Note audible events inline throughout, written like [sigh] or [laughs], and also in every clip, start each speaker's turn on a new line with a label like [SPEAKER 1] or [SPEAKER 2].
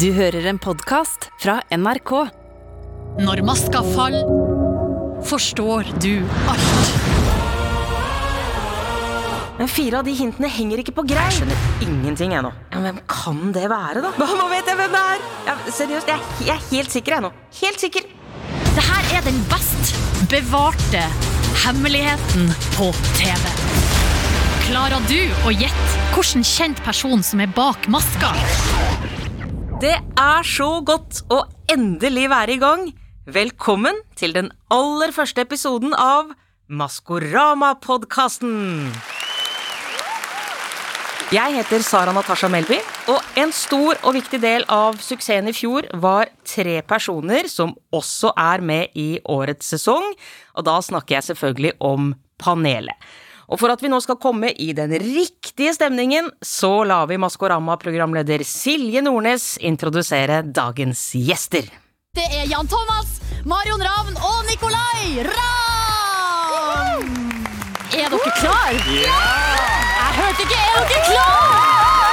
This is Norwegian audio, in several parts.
[SPEAKER 1] Du hører en podkast fra NRK.
[SPEAKER 2] Når maska fall, forstår du alt.
[SPEAKER 3] Men fire av de hintene henger ikke på greip. Jeg skjønner ingenting, jeg nå. Ja, men hvem kan det være, da? Hva, nå vet jeg hvem det er! Ja, seriøst, jeg, er- jeg er helt sikker, jeg nå. Helt sikker.
[SPEAKER 2] Det her er den best bevarte hemmeligheten på TV. Klarer du å gjette hvilken kjent person som er bak maska?
[SPEAKER 3] Det er så godt å endelig være i gang. Velkommen til den aller første episoden av Maskorama-podkasten. Jeg heter Sara Natasha Melby, og en stor og viktig del av suksessen i fjor var tre personer som også er med i årets sesong, og da snakker jeg selvfølgelig om panelet. Og for at vi nå skal komme i den riktige stemningen, så lar vi Maskorama-programleder Silje Nordnes introdusere dagens gjester.
[SPEAKER 2] Det er Jan Thomas, Marion Ravn og Nikolai Ravn! Er dere klar? Ja! Jeg hørte ikke Er dere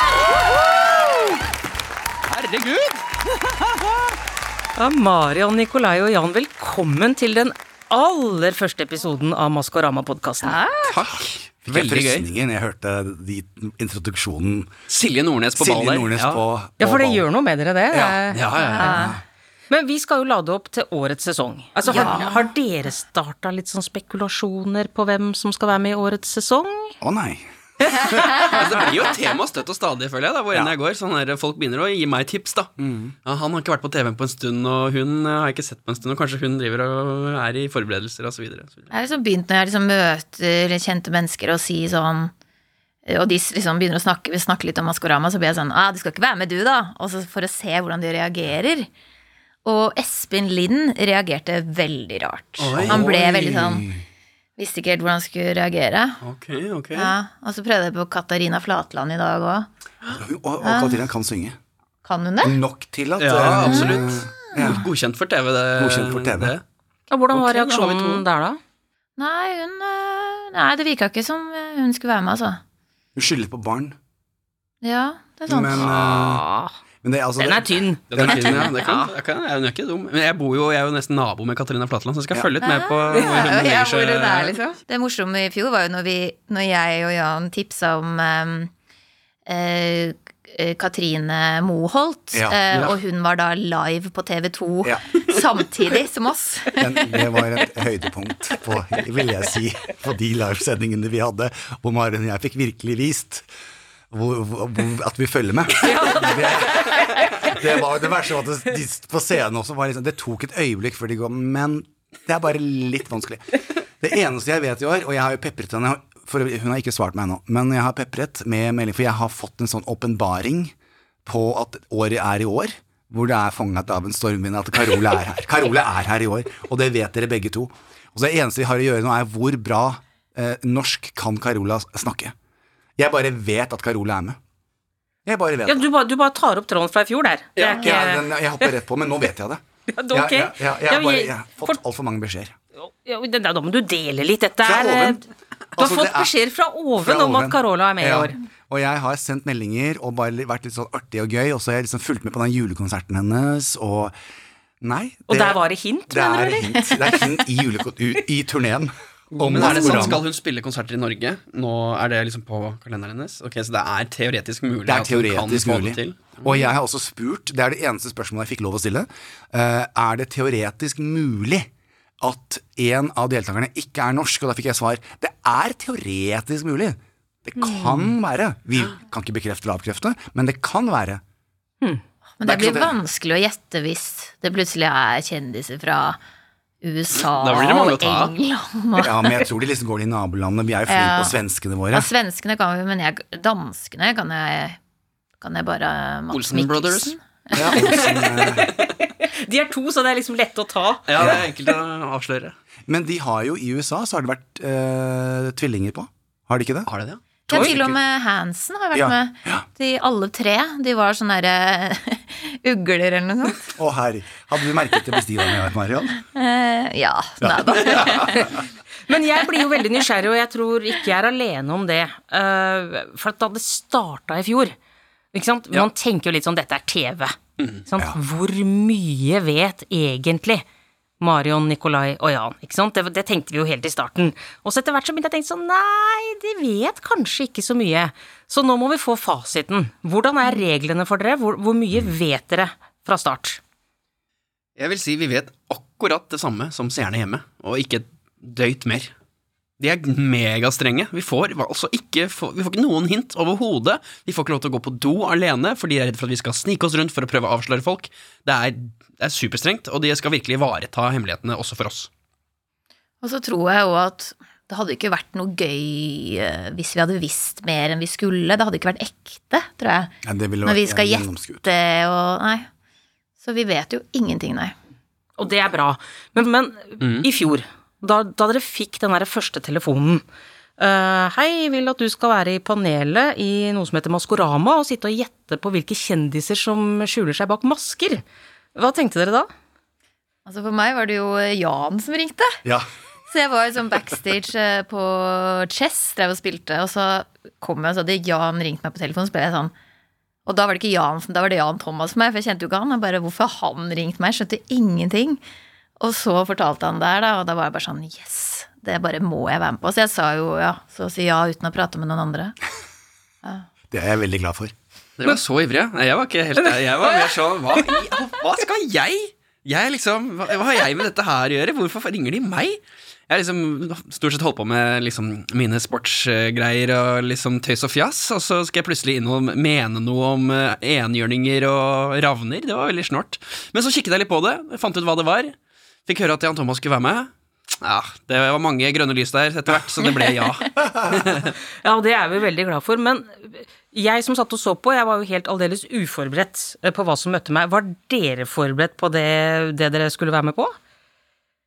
[SPEAKER 2] klar?
[SPEAKER 4] Herregud!
[SPEAKER 3] [laughs] Ja, Marion, Nikolai og Jan, velkommen til den aller første episoden av Maskorama-podkasten.
[SPEAKER 5] Takk. Fikk
[SPEAKER 4] Veldig
[SPEAKER 5] jeg
[SPEAKER 4] gøy.
[SPEAKER 5] frysninger når jeg hørte de, introduksjonen
[SPEAKER 4] Silje Nordnes på ball
[SPEAKER 5] Silje
[SPEAKER 4] der.
[SPEAKER 5] Nordnes
[SPEAKER 4] Ja.
[SPEAKER 5] på
[SPEAKER 3] Ja, for det gjør noe med dere, det.
[SPEAKER 5] Ja.
[SPEAKER 3] Det er-
[SPEAKER 4] Ja, ja,
[SPEAKER 6] Ah.
[SPEAKER 4] ja.
[SPEAKER 3] Men vi skal jo lade opp til årets sesong. Altså, har, har dere starta litt sånn spekulasjoner på hvem som skal være med i årets sesong?
[SPEAKER 5] Å nei.
[SPEAKER 4] Altså, det blir jo et tema støtt og stadig, føler jeg, da, hvor enn jeg går. Sånn der, folk begynner å gi meg tips, da.
[SPEAKER 5] Mm.
[SPEAKER 4] Ja, han har ikke vært på TV-en på en stund, og hun eh, har jeg ikke sett på en stund, og kanskje hun driver og er i forberedelser, og så videre. og så videre.
[SPEAKER 6] Jeg har liksom begynt når jeg liksom møter kjente mennesker og sier sånn Og de liksom begynner å snakke, snakke litt om Maskorama, så blir jeg sånn ah, 'Du skal ikke være med, du, da.' Og så for å se hvordan de reagerer. Og Espen Lind reagerte veldig rart.
[SPEAKER 4] Oi.
[SPEAKER 6] Han ble
[SPEAKER 5] Oi.
[SPEAKER 6] veldig sånn Visste ikke helt hvordan han skulle reagere.
[SPEAKER 4] Ok, ok.
[SPEAKER 6] Ja, og så prøvde jeg på Katarina Flatland i dag òg.
[SPEAKER 5] Og, og Katarina kan synge.
[SPEAKER 6] Kan hun det?
[SPEAKER 5] Nok til at
[SPEAKER 4] Ja,
[SPEAKER 5] eh,
[SPEAKER 4] absolutt.
[SPEAKER 5] Ja.
[SPEAKER 4] Godkjent for TV, det.
[SPEAKER 5] Godkjent for TV.
[SPEAKER 4] det.
[SPEAKER 3] Og hvordan var
[SPEAKER 4] Ok, da har vi
[SPEAKER 3] reaksjonen
[SPEAKER 4] to.
[SPEAKER 3] der, da?
[SPEAKER 6] Nei, hun øh, Nei, det virka ikke som øh, hun skulle være med, altså.
[SPEAKER 5] Hun skylder på barn.
[SPEAKER 6] Ja, det er sant.
[SPEAKER 5] Men, eh, men det, er altså,
[SPEAKER 3] Ah, Den er
[SPEAKER 5] det,
[SPEAKER 3] tynn.
[SPEAKER 4] Ja, den er fin, ja. Det kan, jeg kan, jeg, hun er ikke dum. Men jeg bor jo, jeg er jo nesten nabo med Katarina Flatland, så jeg skal følge litt med på hvor hun
[SPEAKER 6] [laughs] Ja,
[SPEAKER 4] legger
[SPEAKER 6] hvor hun er,
[SPEAKER 4] seg.
[SPEAKER 6] liksom. Det morsomme i fjor var jo når, vi, når jeg og Jan tipsa om em, eh, eh, Katrine Moholt,
[SPEAKER 5] Ja.
[SPEAKER 6] eh,
[SPEAKER 4] Ja.
[SPEAKER 6] og hun var da live på TV2
[SPEAKER 5] Ja.
[SPEAKER 6] [laughs] samtidig som oss.
[SPEAKER 5] den, det var et høydepunkt, på, vil jeg si, på de livesendingene vi hadde, hvor Maren og jeg fikk virkelig vist hvor, hvor, hvor- at vi følger med. Det, det var det verste var at de på scenen også var liksom Det tok et øyeblikk før de går Men det er bare litt vanskelig. Det eneste jeg vet i år, og jeg har jo pepret henne for, øvrig, Hun har ikke svart meg ennå, men jeg har pepret med melding, for jeg har fått en sånn åpenbaring på at året er i år. Hvor det er fanget av en stormvind at Carola er her. Carola er her i år, og det vet dere begge to. Og så Det eneste vi har å gjøre nå, er hvor bra eh, norsk kan Carola snakke. Jeg bare vet at Carola er med. Jeg bare vet
[SPEAKER 3] Ja, du, bare, du bare tar opp tråden fra i fjor der. Det er ikke,
[SPEAKER 5] ja, den, jeg hopper rett på, men nå vet
[SPEAKER 3] [laughs]
[SPEAKER 5] jeg det.
[SPEAKER 3] Ja, det er ok.
[SPEAKER 5] Jeg, jeg, jeg,
[SPEAKER 3] Ja,
[SPEAKER 5] har
[SPEAKER 3] men
[SPEAKER 5] bare,
[SPEAKER 3] jeg-
[SPEAKER 5] jeg har
[SPEAKER 3] for-
[SPEAKER 5] fått altfor mange beskjeder.
[SPEAKER 3] Ja, men den der, da må du dele litt. Dette
[SPEAKER 5] Fra
[SPEAKER 3] er eh,
[SPEAKER 5] oven.
[SPEAKER 3] Du har
[SPEAKER 5] Altså,
[SPEAKER 3] fått
[SPEAKER 5] det er-
[SPEAKER 3] beskjeder fra oven
[SPEAKER 5] Fra
[SPEAKER 3] om at
[SPEAKER 5] oven.
[SPEAKER 3] Carola er med i
[SPEAKER 5] Ja.
[SPEAKER 3] år.
[SPEAKER 5] Og jeg har sendt meldinger og bare li- vært litt sånn artig og gøy, og så har jeg liksom fulgt med på den julekonserten hennes, og Nei.
[SPEAKER 3] Og der var det hint,
[SPEAKER 5] det
[SPEAKER 3] mener
[SPEAKER 5] er
[SPEAKER 3] du, eller?
[SPEAKER 5] hint. Det er hint i, julekon- u- i turneen.
[SPEAKER 4] Men er det sant, skal hun spille konserter i Norge? Nå er det liksom på kalenderen hennes? Ok, Så det er teoretisk mulig
[SPEAKER 5] Det er
[SPEAKER 4] at hun kan
[SPEAKER 5] teoretisk
[SPEAKER 4] få
[SPEAKER 5] mulig.
[SPEAKER 4] det til? Mm.
[SPEAKER 5] Og jeg har også spurt, det er det eneste spørsmålet jeg fikk lov å stille, eh, er det teoretisk mulig at en av deltakerne ikke er norsk? Og da fikk jeg svar, det er teoretisk mulig. Det
[SPEAKER 6] Mm.
[SPEAKER 5] kan være. Vi kan ikke bekrefte eller avkrefte, men det kan være.
[SPEAKER 6] Men
[SPEAKER 5] Det
[SPEAKER 6] det
[SPEAKER 5] er ikke
[SPEAKER 6] blir
[SPEAKER 5] så det.
[SPEAKER 6] vanskelig å gjette hvis det plutselig er kjendiser fra USA
[SPEAKER 4] Da blir det mange å
[SPEAKER 6] og
[SPEAKER 4] ta av.
[SPEAKER 6] England og
[SPEAKER 5] Ja, men jeg tror de liksom går til nabolandene. Vi er jo flinke
[SPEAKER 6] Ja.
[SPEAKER 5] på svenskene
[SPEAKER 6] ja,
[SPEAKER 5] våre.
[SPEAKER 6] Svenskene kan vi, men jeg, danskene kan jeg, kan jeg bare Mats
[SPEAKER 4] Olsen Brothers.
[SPEAKER 6] Mikkelsen.
[SPEAKER 5] Ja, Olsen, eh,
[SPEAKER 3] De er to, så det er liksom lett å ta.
[SPEAKER 4] Ja, det er enkelt å avsløre.
[SPEAKER 5] men de har jo i USA så har det vært eh, tvillinger på. Har de ikke det?
[SPEAKER 4] Har det det?
[SPEAKER 6] Ja,
[SPEAKER 5] Oi.
[SPEAKER 6] til og med Hansen har vært
[SPEAKER 5] Ja,
[SPEAKER 6] med. De alle tre. De var sånne derre [laughs] ugler eller noe sånt.
[SPEAKER 5] Å herre, hadde du merket det bestivende jeg har, Marion?
[SPEAKER 6] Eh, ja, nei da.
[SPEAKER 3] Men jeg blir jo veldig nysgjerrig, og jeg tror ikke jeg er alene om det. Eh, For at da det starta i fjor, Ikke sant?
[SPEAKER 4] Ja.
[SPEAKER 3] Man tenker jo litt sånn dette er TV. Ikke sant? Hvor mye vet egentlig Marion, Nikolai og Jan? Ikke sant? Det, det tenkte vi jo helt i starten. Og så etter hvert så begynte jeg å tenke sånn nei, de vet kanskje ikke så mye. Så nå må vi få fasiten. Hvordan er reglene for dere? Hvor, hvor mye vet dere fra start?
[SPEAKER 4] Jeg vil si vi vet akkurat det samme som seerne hjemme, og ikke et døyt mer. De er megastrenge. Vi får altså ikke, vi får ikke noen hint overhodet. Vi får ikke lov til å gå på do alene, for de er redd for at vi skal snike oss rundt for å prøve å avsløre folk. Det er, det er superstrengt, og de skal virkelig ivareta hemmelighetene også for oss.
[SPEAKER 6] Og så tror jeg òg at det hadde ikke vært noe gøy eh, hvis vi hadde visst mer enn vi skulle. Det hadde ikke vært ekte, tror jeg.
[SPEAKER 5] Ja, det ville
[SPEAKER 6] Når vi
[SPEAKER 5] vært
[SPEAKER 6] skal
[SPEAKER 5] gjennomskuet.
[SPEAKER 6] gjette og Nei. Så vi vet jo ingenting, nei.
[SPEAKER 3] Og det er bra. Men, men i fjor, da, da dere fikk den der første telefonen eh, Hei, vil at du skal være i panelet i noe som heter Maskorama, og sitte og gjette på hvilke kjendiser som skjuler seg bak masker. Hva tenkte dere da?
[SPEAKER 6] Altså For meg var det jo Jan som ringte.
[SPEAKER 5] Ja.
[SPEAKER 6] Så jeg var jo sånn backstage eh, på Chess, drev og spilte, og så kom jeg og så hadde Jan ringt meg på telefonen, så ble jeg sånn Og da var det ikke Jan, da var det Jan Thomas for meg, for jeg kjente jo ikke han. Jeg bare, hvorfor har han ringt meg? Jeg skjønte ingenting. Og så fortalte han der, da, og da var jeg bare sånn Yes! Det bare må jeg være med på. Så jeg sa jo ja, så å si ja uten å prate med noen andre.
[SPEAKER 5] Det er jeg veldig glad for.
[SPEAKER 4] Dere var så ivrige. Nei, Jeg var ikke helt der. Jeg var mer sånn hva, i- hva skal jeg? jeg liksom, hva, hva har jeg med dette her å gjøre? Hvorfor ringer de meg? Jeg har liksom stort sett holdt på med liksom mine sportsgreier og liksom tøys og fjas, og så skal jeg plutselig inn og mene noe om eh, enhjørninger og ravner. Det var veldig snålt. Men så kikket jeg litt på det, fant ut hva det var. Fikk høre at Jan Thomas skulle være med. Ja, Det var mange grønne lys der etter hvert, så det ble ja.
[SPEAKER 3] Ja, og det er vi veldig glad for. Men jeg som satt og så på, jeg var jo helt aldeles uforberedt eh, på hva som møtte meg. Var dere forberedt på det, det dere skulle være med på?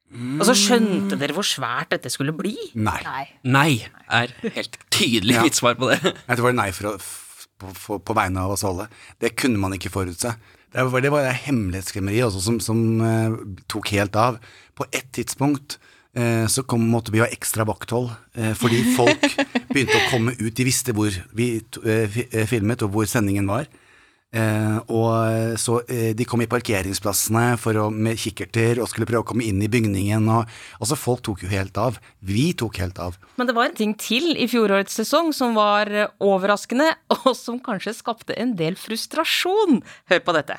[SPEAKER 3] Altså, skjønte dere hvor svært dette skulle bli?
[SPEAKER 5] Nei.
[SPEAKER 4] Nei er helt tydelig mitt svar på det.
[SPEAKER 5] Jeg tror det er nei for å, f- på, på, på vegne av oss alle. Det kunne man ikke forutse. Det var, det var hemmelighetskremmeri også som, som eh, tok helt av. På et tidspunkt eh, så kom, måtte vi ha ekstra vakthold, eh, fordi folk begynte å komme ut. De visste hvor vi to- eh, fi- eh, filmet, og hvor sendingen var. Eh, og så eh, De kom i parkeringsplassene for å, med kikkerter og skulle prøve å komme inn i bygningen. Og, altså Folk tok jo helt av. Vi tok helt av.
[SPEAKER 3] Men det var en ting til i fjorårets sesong som var eh, overraskende, [laughs] og som kanskje skapte en del frustrasjon. Hør på dette.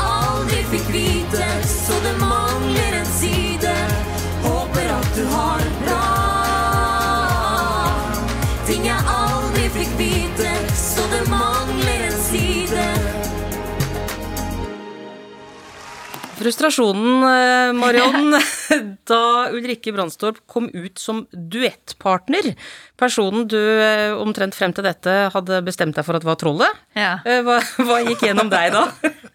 [SPEAKER 7] aldri fikk vite, så det mangler en side. Håper at du har det bra. Ting jeg aldri fikk vite, så det mangler en side.
[SPEAKER 3] Frustrasjonen, eh, Marion, [laughs] da Ulrikke Brandstorp kom ut som duettpartner. Personen du eh, omtrent frem til dette hadde bestemt deg for at var trollet.
[SPEAKER 6] Ja.
[SPEAKER 3] Eh, Hva, [laughs] hva gikk gjennom deg da?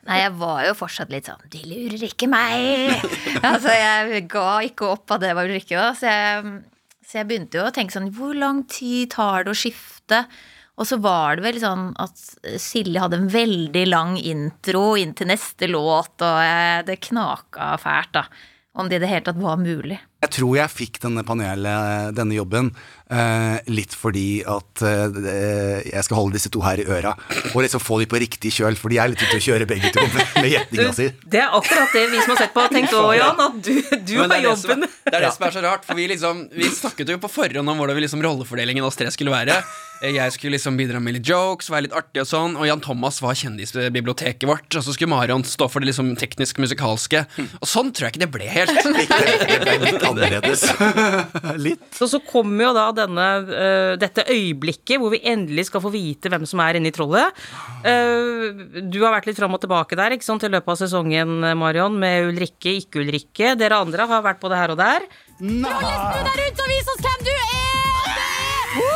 [SPEAKER 6] Nei, jeg var jo fortsatt litt sånn De lurer ikke meg! [laughs] altså, jeg ga ikke opp at det var Ulrikke, da. Så jeg, så jeg begynte jo å tenke sånn Hvor lang tid tar det å skifte? Og så var det vel sånn at Silje hadde en veldig lang intro inn til neste låt, og eh, det knaka fælt, da. Om det i det hele tatt var mulig.
[SPEAKER 5] Jeg tror jeg fikk denne panelet, denne jobben, eh, litt fordi at eh, jeg skal holde disse to her i øra, og liksom få de på riktig kjøl, for de er litt ute å kjøre begge to med, med gjettinga si.
[SPEAKER 3] Det er akkurat det vi som har sett på har tenkt òg, Jan. At du, du
[SPEAKER 4] Men
[SPEAKER 3] har
[SPEAKER 4] det er det som
[SPEAKER 3] jobben.
[SPEAKER 4] er- Det er det som er så rart, for vi, liksom, vi snakket jo på forhånd om hvordan vi liksom rollefordelingen oss tre skulle være. Eh, Jeg skulle liksom bidra med litt jokes, være litt artig og sånn, og Jan Thomas var kjendisbiblioteket vårt, og så skulle Marion stå for det liksom teknisk-musikalske. Og sånn tror jeg ikke det ble
[SPEAKER 5] [laughs]
[SPEAKER 4] helt.
[SPEAKER 5] Det ble litt annerledes. [laughs] Litt.
[SPEAKER 3] Så så kommer jo da denne, eh, dette øyeblikket hvor vi endelig skal få vite hvem som er inni trollet. Eh, du har vært litt fram og tilbake der ikke sant, i løpet av sesongen, Marion, med Ulrikke, ikke Ulrikke. Dere andre har vært både her og der.
[SPEAKER 7] Der ute og vis oss hvem du er!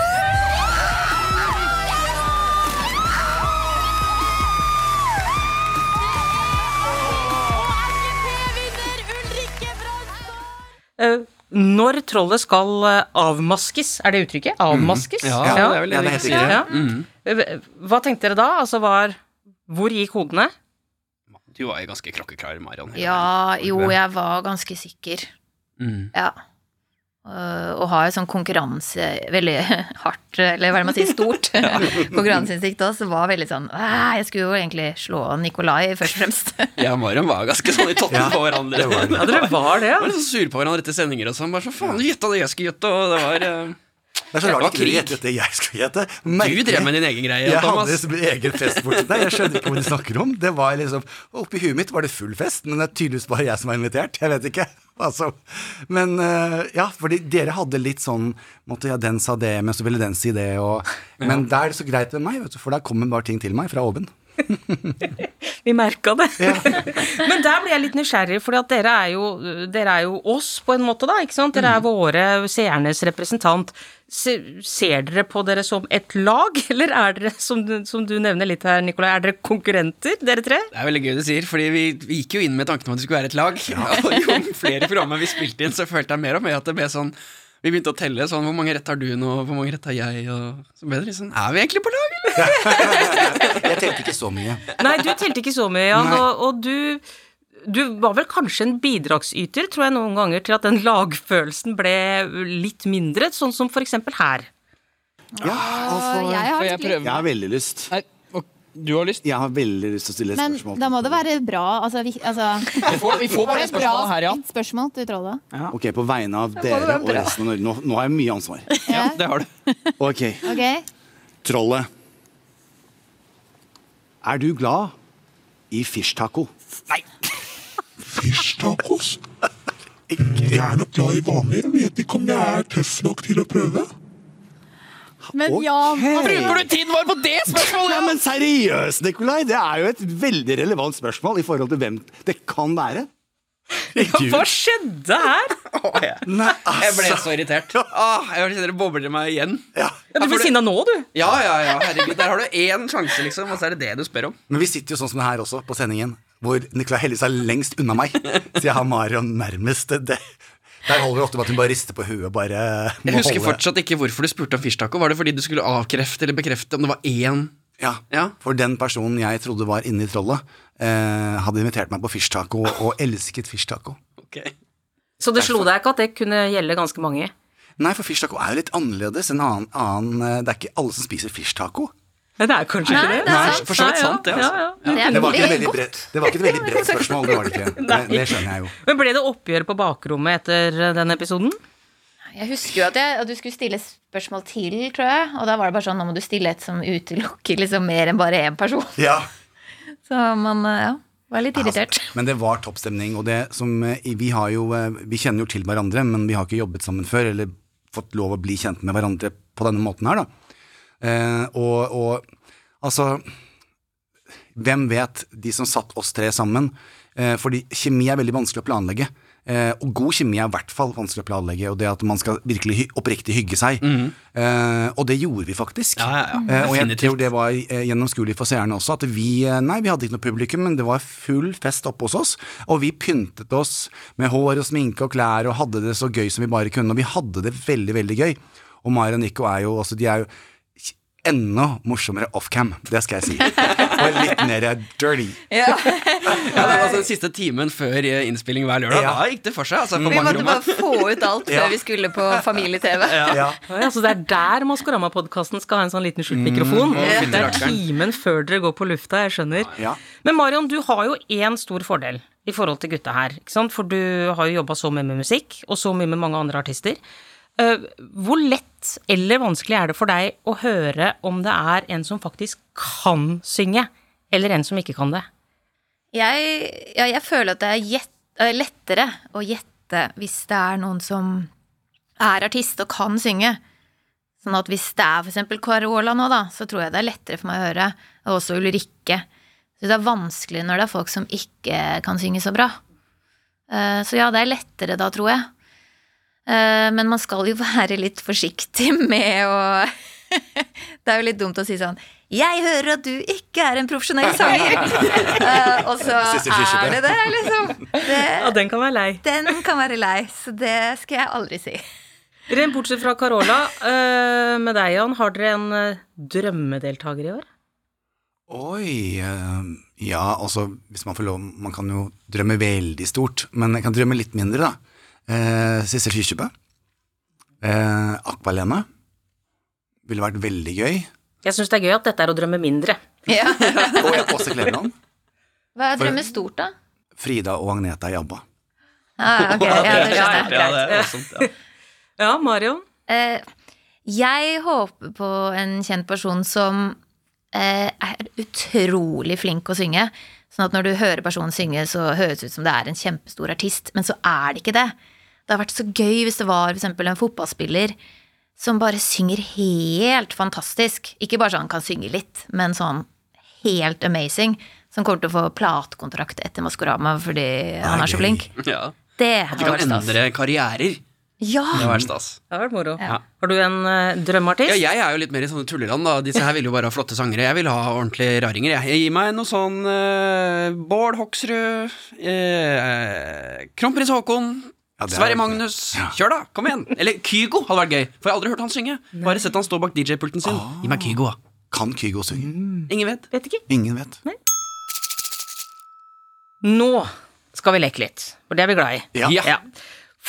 [SPEAKER 3] Eh, når trollet skal eh, avmaskes, er det uttrykket? Avmaskes?
[SPEAKER 4] Mhm. Ja, det er vel det
[SPEAKER 5] Ja, det
[SPEAKER 4] vi
[SPEAKER 5] heter
[SPEAKER 4] sier. Mhm.
[SPEAKER 5] det.
[SPEAKER 3] Ja. Eh, Hva tenkte dere da? Altså var Hvor gikk hodene?
[SPEAKER 4] Du var jo ganske klokkeklar, Marion. hele
[SPEAKER 6] Ja, jo,
[SPEAKER 4] veien.
[SPEAKER 6] jeg var ganske sikker.
[SPEAKER 4] Mm.
[SPEAKER 6] Ja. øh, Og har jo sånn konkurranse Veldig [laughs] hardt, eller hva er det man sier, stort [laughs] konkurranseinstinkt også. så Var veldig sånn «Æ, Jeg skulle jo egentlig slå Nikolai, først og fremst. [laughs]
[SPEAKER 4] Ja, Marion var ganske sånn i totten
[SPEAKER 5] Ja,
[SPEAKER 4] på hverandre.
[SPEAKER 5] det var det.
[SPEAKER 3] Ja, dere var det, altså. ja.
[SPEAKER 4] Vi var litt sånn sure på hverandre etter sendinger og sånn. Bare så faen, du gjetta det jeg skulle gjette, og det var eh,
[SPEAKER 5] Det er så
[SPEAKER 4] Det
[SPEAKER 5] rart
[SPEAKER 4] var
[SPEAKER 5] ikke dere
[SPEAKER 4] krig.
[SPEAKER 5] gjettet det jeg skulle gjette.
[SPEAKER 4] Du
[SPEAKER 5] Merkelig.
[SPEAKER 4] drev med din egen greie,
[SPEAKER 5] Jeg hadde
[SPEAKER 4] Thomas.
[SPEAKER 5] liksom som egen fest borti der. Jeg skjønner ikke hva de snakker om. Det var liksom, Oppi huet mitt var det full fest, men det er tydeligvis bare jeg som var invitert. Jeg vet ikke. [laughs] Altså, men eh, ja, fordi dere hadde litt sånn måtte ja, Den sa det, men så ville den si det. Og, Men da er det så greit med meg, vet du, for da kommer bare ting til meg fra oven.
[SPEAKER 3] Vi merka det. [laughs] Men der blir jeg litt nysgjerrig, for dere, er jo- dere er jo oss på en måte, da. ikke sant? Dere er våre seernes representant. Se, ser dere på dere som et lag, [laughs] eller er dere, som du, som du nevner litt her, Nikolai, er dere konkurrenter, dere tre?
[SPEAKER 4] Det er veldig gøy du sier, fordi vi, vi gikk jo inn med tanken om at vi skulle være et lag. [laughs] Og jo flere programmer vi spilte inn, så følte jeg mer og mer at det ble sånn Vi begynte å telle sånn Hvor mange rett har du nå, hvor mange rett har jeg, og så ble det litt sånn Er vi egentlig på lag, eller?
[SPEAKER 5] Jeg tenkte ikke så mye.
[SPEAKER 3] Nei, du telte ikke så mye, Jan,
[SPEAKER 5] Nei.
[SPEAKER 3] og, og du du var vel kanskje en bidragsyter, tror jeg, noen ganger til at den lagfølelsen ble litt mindre, sånn som for eksempel her.
[SPEAKER 8] Ja,
[SPEAKER 9] Og Ah, jeg har
[SPEAKER 8] for jeg
[SPEAKER 9] litt lyst.
[SPEAKER 8] prøver.
[SPEAKER 10] Jeg har veldig lyst.
[SPEAKER 8] Nei, og du har lyst?
[SPEAKER 10] Jeg har veldig lyst til å stille et
[SPEAKER 9] Men
[SPEAKER 10] spørsmål.
[SPEAKER 9] da må det være bra altså, vi, altså,
[SPEAKER 8] Vi får, vi får
[SPEAKER 9] Det [laughs]
[SPEAKER 8] bare
[SPEAKER 9] er
[SPEAKER 8] et
[SPEAKER 9] bra
[SPEAKER 8] spørsmål her, ja.
[SPEAKER 9] spørsmål til Trollet.
[SPEAKER 10] Ok, På vegne av dere og resten av Norge. Nå, nå har jeg mye
[SPEAKER 9] [laughs]
[SPEAKER 10] ansvar.
[SPEAKER 9] Ja.
[SPEAKER 8] Det har du.
[SPEAKER 10] Ok,
[SPEAKER 9] Ok?
[SPEAKER 10] Trollet. Er du glad i fish taco?
[SPEAKER 11] Tacos. Jeg er nok glad i vanlig. Jeg vet ikke om jeg er tøff nok til å prøve.
[SPEAKER 9] Men Jan,
[SPEAKER 8] Bruker du tiden vår på det spørsmålet?!
[SPEAKER 10] Ja, men seriøst, Nikolai! Det er jo et veldig relevant spørsmål i forhold til hvem det kan være.
[SPEAKER 3] Hva skjedde her?
[SPEAKER 5] Nei,
[SPEAKER 4] Jeg ble
[SPEAKER 5] altså.
[SPEAKER 4] så irritert. Åh, jeg kjenner det bobler i meg igjen.
[SPEAKER 5] Ja.
[SPEAKER 3] Ja, du blir sinna nå, du.
[SPEAKER 4] Ja, ja, ja, herregud. Der har du én sjanse, liksom, og så er det det du spør om.
[SPEAKER 5] Men vi sitter jo sånn som det her også, på sendingen, hvor Nicolai heldigvis er lengst unna meg. Så jeg har Marion nærmest. Det, der holder det ofte med at hun bare rister på huet. Bare må
[SPEAKER 4] Jeg husker
[SPEAKER 5] holde-
[SPEAKER 4] fortsatt ikke hvorfor du spurte om fish taco. Var det fordi du skulle avkrefte eller bekrefte om det var én
[SPEAKER 5] Ja,
[SPEAKER 4] Ja.
[SPEAKER 5] For den personen jeg trodde var inne i trollet, eh, hadde invitert meg på fish taco og elsket fish taco.
[SPEAKER 4] Ok.
[SPEAKER 3] Så det slo deg ikke at det kunne gjelde ganske mange?
[SPEAKER 5] Nei, for fish taco er jo litt annerledes enn annen, annen eh, Det er ikke alle som spiser fish taco.
[SPEAKER 3] Nei, det er kanskje
[SPEAKER 6] Nei,
[SPEAKER 3] ikke
[SPEAKER 6] det
[SPEAKER 3] det.
[SPEAKER 6] er
[SPEAKER 4] Nei,
[SPEAKER 6] sant.
[SPEAKER 4] for så vidt sant, det, altså.
[SPEAKER 3] Ja, ja.
[SPEAKER 6] Det er
[SPEAKER 5] Det var ikke et
[SPEAKER 6] veldig
[SPEAKER 5] veldig
[SPEAKER 6] godt.
[SPEAKER 5] bredt, det var ikke et veldig bredt spørsmål, det var det ikke. Det, det skjønner jeg jo.
[SPEAKER 3] Men ble det oppgjør på bakrommet etter eh, den episoden?
[SPEAKER 6] Jeg husker jo at, jeg, at du skulle stille spørsmål til, tror jeg. Og da var det bare sånn, nå må du stille et som utelukker liksom mer enn bare én person. [laughs]
[SPEAKER 5] Ja
[SPEAKER 6] Så man eh, ja, var litt irritert.
[SPEAKER 5] Men det var toppstemning, og det som eh, vi har jo eh, Vi kjenner jo til hverandre, men vi har ikke jobbet sammen før, eller fått lov å bli kjent med hverandre på denne måten her, da. Eh, og, og altså Hvem vet, de som satt oss tre sammen? Eh, fordi kjemi er veldig vanskelig å planlegge. Eh, og god kjemi er i hvert fall vanskelig å planlegge, og det at man skal virkelig hy oppriktig hygge seg. Eh, og det gjorde vi faktisk.
[SPEAKER 4] Mhm. Ja, ja, ja.
[SPEAKER 5] Eh, og jeg
[SPEAKER 4] Definitivt.
[SPEAKER 5] tror det var eh, gjennomskuelig for seerne også, at vi eh, Nei, vi hadde ikke noe publikum, men det var full fest oppe hos oss, og vi pyntet oss med hår og sminke og klær og hadde det så gøy som vi bare kunne, og vi hadde det veldig, veldig gøy. Og Maya og Nico er jo også De er jo k- enda morsommere offcam, det skal jeg si. Og litt mer dirty.
[SPEAKER 4] Ja, det var altså Den siste timen før eh, innspilling hver lørdag,
[SPEAKER 5] Ja.
[SPEAKER 4] da gikk det for seg. Altså, på
[SPEAKER 6] Vi
[SPEAKER 4] mange
[SPEAKER 6] måtte
[SPEAKER 4] rom,
[SPEAKER 6] bare få ut alt før vi skulle på familie-TV.
[SPEAKER 5] Ja.
[SPEAKER 3] Ja, så altså, det er der Maskorama-podkasten skal ha en sånn liten skjult
[SPEAKER 4] Mm,
[SPEAKER 3] mikrofon? det er timen før dere går på lufta, jeg skjønner.
[SPEAKER 5] Ja.
[SPEAKER 3] Men Marion, du har jo én stor fordel i forhold til gutta her, ikke sant? for du har jo jobba så mye med musikk, og så mye med mange andre artister. Eh, Hvor lett eller vanskelig er det for deg å høre om det er en som faktisk kan synge, eller en som ikke kan det?
[SPEAKER 6] Jeg, ja, jeg føler at det er gjett- eh, lettere å gjette hvis det er noen som er artist og kan synge. Sånn at hvis det er f.eks. Carola nå, da, så tror jeg det er lettere for meg å høre. Og også Ulrikke. Så det er vanskelig når det er folk som ikke kan synge så bra. Eh, Så ja, det er lettere da, tror jeg. Eh, Men man skal jo [laughs] være litt forsiktig med å [laughs] Det er jo litt dumt å si sånn Jeg hører at du ikke er en profesjonell sanger! Eh, Og så
[SPEAKER 5] Sissel Kyrkjebø.
[SPEAKER 6] er det det, liksom.
[SPEAKER 3] Ja,
[SPEAKER 6] Det,
[SPEAKER 3] den kan være lei.
[SPEAKER 6] den kan være lei, så det skal jeg aldri si.
[SPEAKER 3] Rent bortsett fra Carola, eh, med deg, Jan, har dere en eh, drømmedeltaker i år?
[SPEAKER 5] Oi eh, Ja, altså, hvis man får lov Man kan jo drømme veldig stort, men jeg kan drømme litt mindre, da. Eh, Sissel Kyrkjebø. Eh, Akvalene ville vært veldig gøy.
[SPEAKER 3] Jeg syns det er gøy at dette er å drømme mindre.
[SPEAKER 5] Og jeg Åse Kleveland.
[SPEAKER 6] Hva er
[SPEAKER 5] For-
[SPEAKER 6] drømme stort, [laughs] da?
[SPEAKER 5] Frida og Agneta i ABBA.
[SPEAKER 6] Ah, ok, ja, det skjønner jeg.
[SPEAKER 3] [laughs] Ja, Marion?
[SPEAKER 6] Eh, jeg håper på en kjent person som eh, er utrolig flink å synge. Sånn at når du hører personen synge, så høres det ut som det er en kjempestor artist, men så er det ikke det. Det har vært så gøy hvis det var for eksempel en fotballspiller som bare synger helt fantastisk. Ikke bare sånn kan synge litt, men sånn helt amazing. Som kommer til å få platekontrakt etter Maskorama fordi han er så flink.
[SPEAKER 4] Ja.
[SPEAKER 6] Det
[SPEAKER 4] At de
[SPEAKER 6] hadde
[SPEAKER 4] kan
[SPEAKER 6] vært stas.
[SPEAKER 4] endre karrierer.
[SPEAKER 6] Ja.
[SPEAKER 4] Det hadde vært stas.
[SPEAKER 3] Det har vært moro.
[SPEAKER 4] Ja.
[SPEAKER 3] Har du en eh, drømmeartist?
[SPEAKER 4] Ja, jeg er jo litt mer i sånne tulleland, da. Disse her vil jo bare ha flotte sangere. Jeg vil ha ordentlige raringer. Jeg Gi meg noe sånn eh, Bård Hoksrud, eh, kronprins Haakon,
[SPEAKER 5] Ja, det er
[SPEAKER 4] Sverre
[SPEAKER 5] jo-
[SPEAKER 4] Magnus. Kjør, da! Kom igjen! Eller Kygo hadde vært gøy, for jeg har aldri hørt han synge. Bare sett han stå bak DJ-pulten sin.
[SPEAKER 5] Ah.
[SPEAKER 4] Gi meg Kygo, da.
[SPEAKER 5] Kan Kygo synge?
[SPEAKER 4] Ingen vet.
[SPEAKER 3] Vet ikke.
[SPEAKER 5] Ingen vet.
[SPEAKER 3] Nå skal vi leke litt, for det er vi glad i.
[SPEAKER 5] Ja. Ja.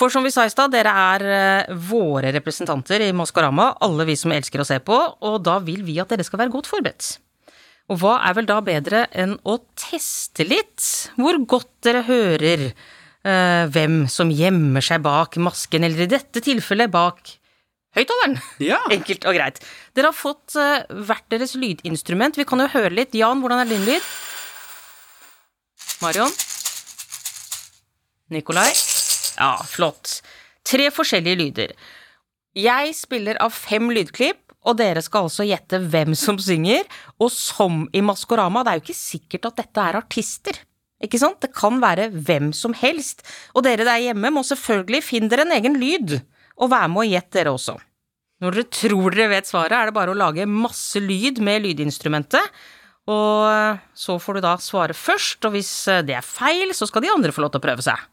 [SPEAKER 3] For som vi sa i stad, dere er eh, våre representanter i Maskorama, alle vi som elsker å se på, og da vil vi at dere skal være godt forberedt. Og hva er vel da bedre enn å teste litt hvor godt dere hører eh, hvem som gjemmer seg bak masken, eller i dette tilfellet bak høyttaleren? Enkelt og greit. Dere har fått eh, hvert deres lydinstrument. Vi kan jo høre litt. Jan, hvordan er din lyd? Marion? Nikolai? Ja, flott. Tre forskjellige lyder. Jeg spiller av fem lydklipp, og dere skal altså gjette hvem som synger. Og som i Maskorama, det er jo ikke sikkert at dette er artister. Ikke sant? Det kan være hvem som helst. Og dere der hjemme må selvfølgelig finne dere en egen lyd, og være med og gjette dere også. Når dere tror dere vet svaret, er det bare å lage masse lyd med lydinstrumentet. Og eh, så får du da svare først, og hvis eh, det er feil, så skal de andre få lov til å prøve seg.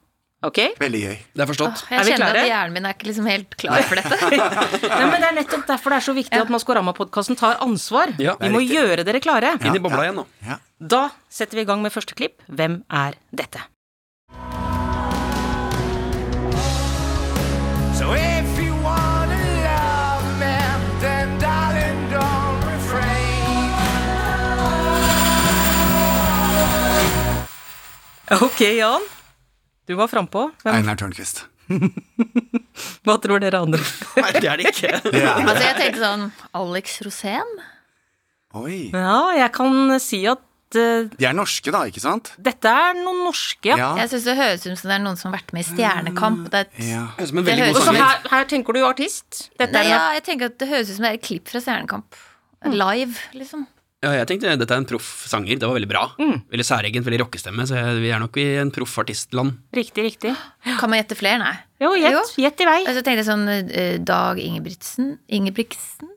[SPEAKER 3] Ok?
[SPEAKER 5] Veldig gøy.
[SPEAKER 4] Det er forstått.
[SPEAKER 6] Jeg
[SPEAKER 3] er vi
[SPEAKER 6] kjenner
[SPEAKER 3] klare?
[SPEAKER 6] at hjernen min er ikke liksom helt klar for dette.
[SPEAKER 3] Nei, men Det er nettopp derfor det er så viktig at Maskorama-podkasten tar ansvar.
[SPEAKER 4] Ja.
[SPEAKER 3] Vi må
[SPEAKER 4] Det er riktig.
[SPEAKER 3] gjøre dere klare.
[SPEAKER 4] Inn i bobla igjen, nå.
[SPEAKER 3] Da setter vi i gang med første klipp. Hvem er dette?
[SPEAKER 12] So if you wanna love me, then darling, don't refrain.
[SPEAKER 3] Ok, Jan. Du var frampå.
[SPEAKER 5] Einar Tørnquist.
[SPEAKER 3] Hva tror dere andre?
[SPEAKER 4] Nei, det er det
[SPEAKER 5] [laughs]
[SPEAKER 4] ikke.
[SPEAKER 5] Det er
[SPEAKER 6] Altså, jeg tenkte sånn Alex Rosén?
[SPEAKER 5] Oi.
[SPEAKER 3] Ja, jeg kan si at eh,
[SPEAKER 5] De er norske, da, ikke sant?
[SPEAKER 3] dette er noen norske, ja.
[SPEAKER 5] Ja.
[SPEAKER 6] Jeg syns det høres ut som det er noen som har vært med i Stjernekamp. Det er et,
[SPEAKER 5] Ah. Ja.
[SPEAKER 4] Høres som en
[SPEAKER 6] Det
[SPEAKER 4] veldig
[SPEAKER 3] Og
[SPEAKER 4] god
[SPEAKER 3] så
[SPEAKER 4] sanger.
[SPEAKER 3] her, her tenker du jo artist. Dette
[SPEAKER 6] nei,
[SPEAKER 3] er
[SPEAKER 6] ja,
[SPEAKER 3] en
[SPEAKER 6] jeg tenker at det høres ut som det er et klipp fra Stjernekamp.
[SPEAKER 3] Mm.
[SPEAKER 6] Live, liksom.
[SPEAKER 4] Ja, jeg tenkte dette er en proff sanger. Det var veldig bra.
[SPEAKER 3] Mm.
[SPEAKER 4] Veldig særegent, veldig rockestemme, så jeg- vi er nok i en proff artistland.
[SPEAKER 3] Riktig, riktig.
[SPEAKER 6] Kan man gjette flere, nei?
[SPEAKER 3] Jo, gjett- gjett i vei.
[SPEAKER 4] Altså-
[SPEAKER 6] Og så tenkte jeg sånn eh, Dag Ingebrigtsen Ingebrigtsen,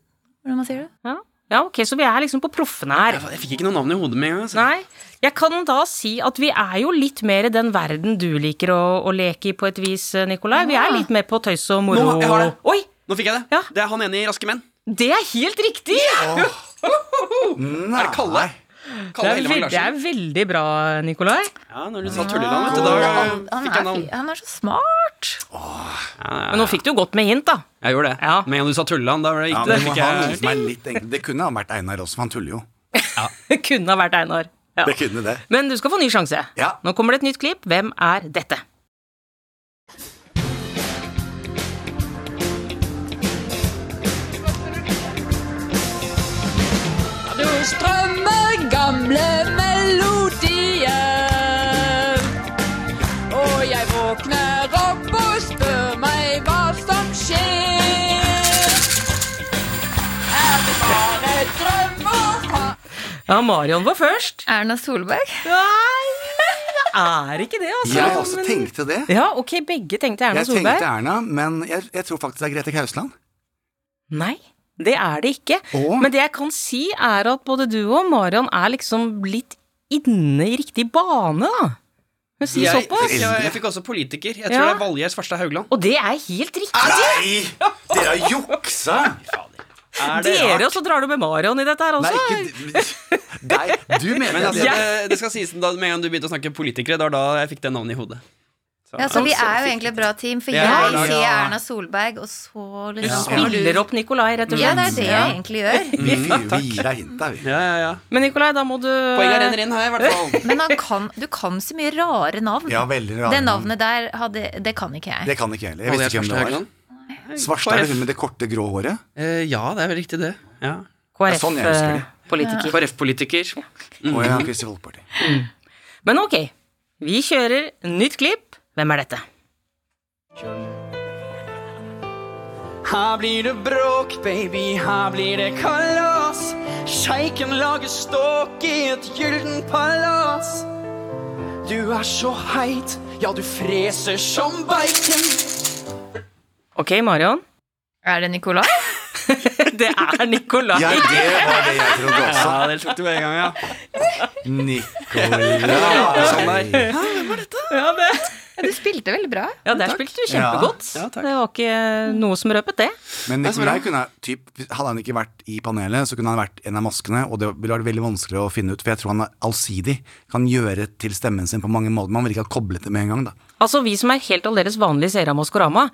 [SPEAKER 6] hvordan man sier det?
[SPEAKER 3] Ja. ja, ok, så vi er liksom på proffene her.
[SPEAKER 4] Jeg fikk ikke noe navn i hodet med en gang. altså.
[SPEAKER 3] Nei, jeg kan da si at vi er jo litt mer i den verden du liker å, å leke i på et vis, Nikolai. Vi er litt mer på tøys og moro.
[SPEAKER 4] Nå, jeg har det.
[SPEAKER 3] Oi,
[SPEAKER 4] Nå fikk jeg det. Det er han ene i Raske menn.
[SPEAKER 3] det er helt riktig!
[SPEAKER 4] Er det Kalle?
[SPEAKER 3] Det
[SPEAKER 4] Kalle
[SPEAKER 3] er,
[SPEAKER 4] Hellemann
[SPEAKER 3] veld, det
[SPEAKER 4] Larsen.
[SPEAKER 3] er veldig bra, Nikolai.
[SPEAKER 4] Ja, når du sa Tulleland, vet du, da
[SPEAKER 6] Han
[SPEAKER 4] fikk
[SPEAKER 6] er,
[SPEAKER 4] jeg navn.
[SPEAKER 6] fi- han er så smart!
[SPEAKER 3] Men nå fikk du godt med hint, da. [laughs]
[SPEAKER 4] Jeg gjorde det. Med en gang du sa Tulleland, da var det
[SPEAKER 5] Ja,
[SPEAKER 4] ikke
[SPEAKER 5] men
[SPEAKER 4] det.
[SPEAKER 5] du må
[SPEAKER 4] Fikk
[SPEAKER 5] ha noe som
[SPEAKER 4] jeg...
[SPEAKER 5] er litt enkelt. Det kunne ha vært Einar også, for han tuller jo.
[SPEAKER 3] Det kunne ha vært Einar. Ja.
[SPEAKER 5] Det kunne det.
[SPEAKER 3] Men du skal få ny sjanse.
[SPEAKER 5] Ja.
[SPEAKER 3] Nå kommer det et nytt klipp. Hvem er dette?
[SPEAKER 7] Nå strømmer gamle melodier. Og jeg våkner opp og spør meg hva som skjer. Er det bare drømmer?
[SPEAKER 3] Ja, Marion var først.
[SPEAKER 6] Erna Solberg.
[SPEAKER 3] Nei, det [laughs] er ikke det, altså.
[SPEAKER 5] Jeg også
[SPEAKER 3] Men-
[SPEAKER 5] tenkte det.
[SPEAKER 3] Ja, ok, begge tenkte Erna
[SPEAKER 5] Jeg tenkte
[SPEAKER 3] Solberg.
[SPEAKER 5] Erna, men jeg, jeg tror faktisk det er Grete Kausland.
[SPEAKER 3] Nei, det er det ikke. Men det jeg kan si, er at både du og Marion er liksom litt inne i riktig bane, da. Hun sier
[SPEAKER 4] Jeg,
[SPEAKER 3] såpass.
[SPEAKER 4] jeg, jeg fikk også politiker. Jeg tror
[SPEAKER 3] Ja.
[SPEAKER 4] det er Valgerd Svarstad Haugland.
[SPEAKER 3] Og det er helt riktig!
[SPEAKER 5] Nei! Dere har juksa!
[SPEAKER 4] Er det
[SPEAKER 3] Dere, og
[SPEAKER 4] rart?
[SPEAKER 3] så drar du med Marion i dette her
[SPEAKER 5] Nei,
[SPEAKER 3] også.
[SPEAKER 5] ikke Nei, du mener
[SPEAKER 4] Men altså,
[SPEAKER 5] det.
[SPEAKER 4] det, det skal sies da, med en gang du begynte å snakke politikere, det var da jeg fikk det navnet i hodet.
[SPEAKER 6] Ja, så Altså, vi er jo egentlig et bra team, for
[SPEAKER 3] Ja,
[SPEAKER 6] jeg
[SPEAKER 3] ja,
[SPEAKER 6] sier
[SPEAKER 3] ja.
[SPEAKER 6] Erna Solberg, og så
[SPEAKER 3] Du
[SPEAKER 6] liksom
[SPEAKER 3] spiller opp Nikolai, rett og slett.
[SPEAKER 6] Ja, det er det jeg egentlig gjør.
[SPEAKER 3] Vi-
[SPEAKER 5] Mm, vi gir deg hint, da.
[SPEAKER 4] Ja, ja, ja.
[SPEAKER 3] Men Nikolai, da må du
[SPEAKER 4] Poenget renner inn her,
[SPEAKER 3] [laughs]
[SPEAKER 4] i hvert fall.
[SPEAKER 6] Men han kan, du kan så mye rare navn.
[SPEAKER 5] Ja, veldig rare
[SPEAKER 6] det
[SPEAKER 5] navn.
[SPEAKER 6] navnet der, hadde, det kan ikke jeg.
[SPEAKER 5] Det kan ikke jeg heller. Jeg visste ikke hvem det var. Svarstad er det hun med det korte, grå håret?
[SPEAKER 4] Eh, ja, det er vel riktig det. Ja. Eh.
[SPEAKER 5] KrF, Ja, sånn jeg husker
[SPEAKER 3] eh.
[SPEAKER 5] det.
[SPEAKER 3] politiker.
[SPEAKER 4] KrF-politiker. eh,
[SPEAKER 5] Å ja,
[SPEAKER 4] mm.
[SPEAKER 5] Kristelig Folkeparti.
[SPEAKER 3] Men ok, vi kjører nytt klipp. Hvem er dette?
[SPEAKER 13] Her blir det bråk, baby, her blir det kalas. Sjeiken lager ståk i et gyllen palass. Du er så heit, ja, du freser som bacon.
[SPEAKER 3] Ok, Marion.
[SPEAKER 6] Er det Nicolai?
[SPEAKER 3] det
[SPEAKER 5] [laughs]
[SPEAKER 3] er Nicolai.
[SPEAKER 5] Ja, det var det jeg trodde også.
[SPEAKER 4] Ja, dere tok det med en gang, ja.
[SPEAKER 5] Nicolai
[SPEAKER 4] Sånn der.
[SPEAKER 3] Ja, det.
[SPEAKER 6] Ja, [laughs] du spilte veldig bra.
[SPEAKER 3] Ja, der spilte du kjempegodt.
[SPEAKER 5] Ja. Ja, takk.
[SPEAKER 3] det var ikke eh, noe som røpet, det.
[SPEAKER 5] Men
[SPEAKER 3] Det er så bra.
[SPEAKER 5] Nikolai kunne typ, Hadde han ikke vært i panelet, så kunne han vært en av maskene, og det ville vært veldig vanskelig å finne ut, for jeg tror han er allsidig. Kan gjøre til stemmen sin på mange måter. Man ville ikke ha koblet det med en gang, da.
[SPEAKER 3] Altså, vi som er helt aldeles vanlige seere av Maskorama,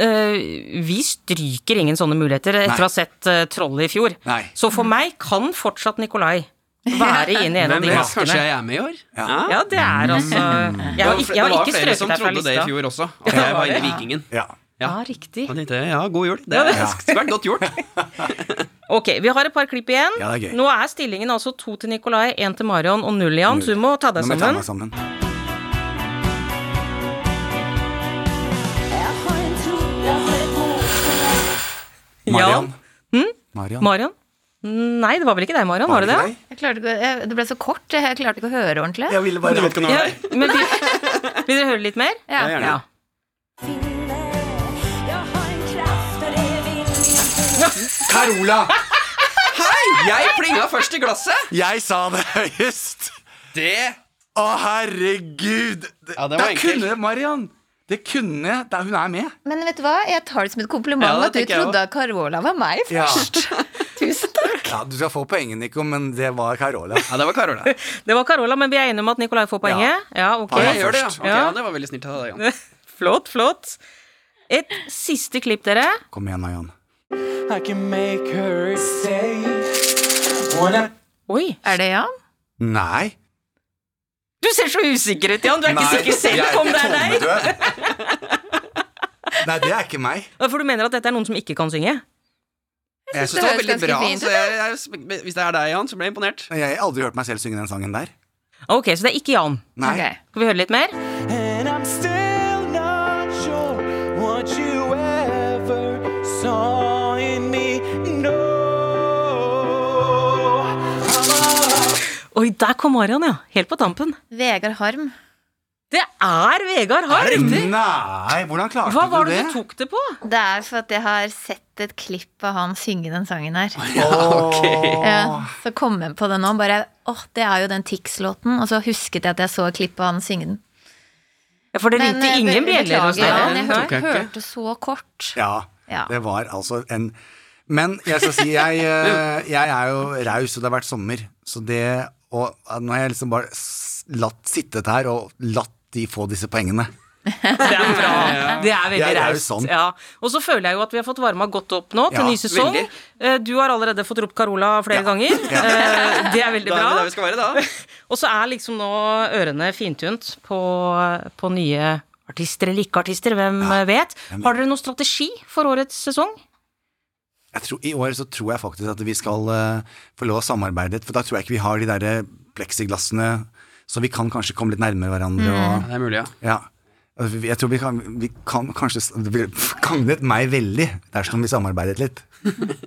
[SPEAKER 3] eh, vi stryker ingen sånne muligheter etter
[SPEAKER 5] Nei.
[SPEAKER 3] å ha sett eh, Trollet i fjor.
[SPEAKER 5] Nei.
[SPEAKER 3] Så for meg kan fortsatt Nikolai være inne i [laughs] en av
[SPEAKER 4] Men
[SPEAKER 3] de
[SPEAKER 4] vet,
[SPEAKER 3] maskene.
[SPEAKER 4] Kanskje jeg er med i år? Ja,
[SPEAKER 3] Ja, det er altså Jeg har ikke, jeg har
[SPEAKER 4] det var
[SPEAKER 3] ikke
[SPEAKER 4] flere
[SPEAKER 3] strøket
[SPEAKER 4] som
[SPEAKER 3] deg fra
[SPEAKER 4] trodde det i
[SPEAKER 3] lista.
[SPEAKER 4] fjor også,
[SPEAKER 3] [laughs] Ja,
[SPEAKER 4] at jeg
[SPEAKER 3] var
[SPEAKER 4] var
[SPEAKER 3] det?
[SPEAKER 4] inne i Vikingen.
[SPEAKER 5] Ja.
[SPEAKER 3] Ja, riktig.
[SPEAKER 4] Da tenkte jeg ja, god jul. Det er svært godt gjort.
[SPEAKER 3] Ok, vi har et par klipp igjen.
[SPEAKER 4] Ja, det er gøy.
[SPEAKER 3] Nå er stillingen altså to til Nikolai, én til Marion og null igjen, så du må ta deg
[SPEAKER 5] Nå må jeg ta
[SPEAKER 3] sammen.
[SPEAKER 5] meg sammen. Marian. Marian.
[SPEAKER 3] Marion? Nei, det var vel ikke deg, Marion? Var det det?
[SPEAKER 6] Jeg klarte ikke, å- jeg, det ble så kort, jeg, jeg klarte ikke å høre ordentlig.
[SPEAKER 5] Jeg ville bare
[SPEAKER 3] Ja, men vil, vil dere høre litt mer?
[SPEAKER 6] Ja. Ja, gjerne.
[SPEAKER 5] Carola!
[SPEAKER 4] Hei! Jeg plinga først i glasset!
[SPEAKER 5] Jeg sa det høyest!
[SPEAKER 4] Det
[SPEAKER 5] Å, herregud! Det,
[SPEAKER 4] Ja, det
[SPEAKER 5] da
[SPEAKER 4] var enkelt.
[SPEAKER 5] kunne Marian! Det kunne da Hun er med.
[SPEAKER 6] Men vet du hva, jeg tar det som et kompliment
[SPEAKER 5] Ja, det
[SPEAKER 6] at du
[SPEAKER 5] tenker jeg
[SPEAKER 6] trodde at Carola var meg
[SPEAKER 5] Ja.
[SPEAKER 6] først. [laughs] Tusen takk.
[SPEAKER 5] Ja, Du skal få poenget, Nico, men det var Carola.
[SPEAKER 4] Ja, det var Carola.
[SPEAKER 3] Det var Carola, men vi er enige om at Nikolai får poenget? Ja, ok.
[SPEAKER 4] Ja, jeg gjør det, ja. Ok, ja. Det var veldig snilt av deg, Jan.
[SPEAKER 3] [laughs] flott, flott. Et siste klipp, dere.
[SPEAKER 5] Kom igjen, Marian.
[SPEAKER 13] I can make her stay. Wanna
[SPEAKER 3] Oi.
[SPEAKER 6] Er det Jan?
[SPEAKER 5] Nei.
[SPEAKER 3] Du ser så usikker ut, Jan. Du er ikke sikker selv om det er deg.
[SPEAKER 5] deg. Nei, det er ikke meg.
[SPEAKER 3] For du mener at dette er noen som ikke kan synge?
[SPEAKER 4] Jeg syns det var veldig bra. Så jeg, jeg, sp- hvis det er deg, Jan, så ble jeg imponert.
[SPEAKER 5] Jeg har aldri hørt meg selv synge den sangen der.
[SPEAKER 3] Ok, så det er ikke Jan.
[SPEAKER 5] Nei.
[SPEAKER 3] Skal vi høre litt mer?
[SPEAKER 13] And I'm still not sure what you ever saw in me. No.
[SPEAKER 3] Oi, der kom Marian, ja. Helt på tampen.
[SPEAKER 6] Vegard Harm.
[SPEAKER 3] Det er Vegard Harm!
[SPEAKER 5] Nei, hvordan klarte
[SPEAKER 3] Hva var
[SPEAKER 5] du
[SPEAKER 3] det
[SPEAKER 5] det?
[SPEAKER 3] du tok det på?
[SPEAKER 6] Det er for at jeg har sett et klipp av han synge den sangen her.
[SPEAKER 5] Åh.
[SPEAKER 6] Ja, så kom jeg på det nå. Bare, åh, det er jo den Tix-låten. Og så husket jeg at jeg så et klipp av han synge den.
[SPEAKER 3] Ja, for det ringte
[SPEAKER 6] eh,
[SPEAKER 3] ingen
[SPEAKER 6] be-
[SPEAKER 3] bjeller hos
[SPEAKER 6] beklager,
[SPEAKER 3] dere.
[SPEAKER 6] Jan, Jeg
[SPEAKER 3] Nei,
[SPEAKER 6] hørte,
[SPEAKER 5] tok jeg ikke.
[SPEAKER 6] hørte så kort.
[SPEAKER 5] Ja,
[SPEAKER 6] Ja.
[SPEAKER 5] det var altså en Men jeg skal si,
[SPEAKER 3] [laughs]
[SPEAKER 5] jeg, eh, jeg er jo raus, og det har vært sommer, så det Og eh, nå har jeg liksom bare s- latt sittet her og latt de få disse poengene.
[SPEAKER 3] Det er bra. Det er veldig
[SPEAKER 5] Jeg er jo
[SPEAKER 3] raust.
[SPEAKER 5] sånn.
[SPEAKER 3] Ja. Og så føler jeg jo at vi har fått varma godt opp nå til
[SPEAKER 5] Ja,
[SPEAKER 3] ny sesong.
[SPEAKER 5] veldig.
[SPEAKER 3] Eh, Du har allerede fått ropt Carola flere ganger.
[SPEAKER 4] Ja.
[SPEAKER 3] Eh, Det er veldig
[SPEAKER 4] Da er
[SPEAKER 3] bra.
[SPEAKER 4] vi der vi skal være, da.
[SPEAKER 3] Og så er liksom nå ørene fintunt på, på nye artister eller ikke artister, hvem eh, vet. Har dere noen strategi for årets sesong?
[SPEAKER 5] Jeg tror, I år så tror jeg faktisk at vi skal eh, få lov å samarbeide, for da tror jeg ikke vi har de derre pleksiglassene, så vi kan kanskje komme litt nærmere hverandre og
[SPEAKER 4] Ja, Det er mulig, ja.
[SPEAKER 5] Ja. Jeg tror vi kan, vi kan kanskje Det ville gagnet meg veldig dersom vi samarbeidet litt.
[SPEAKER 4] Det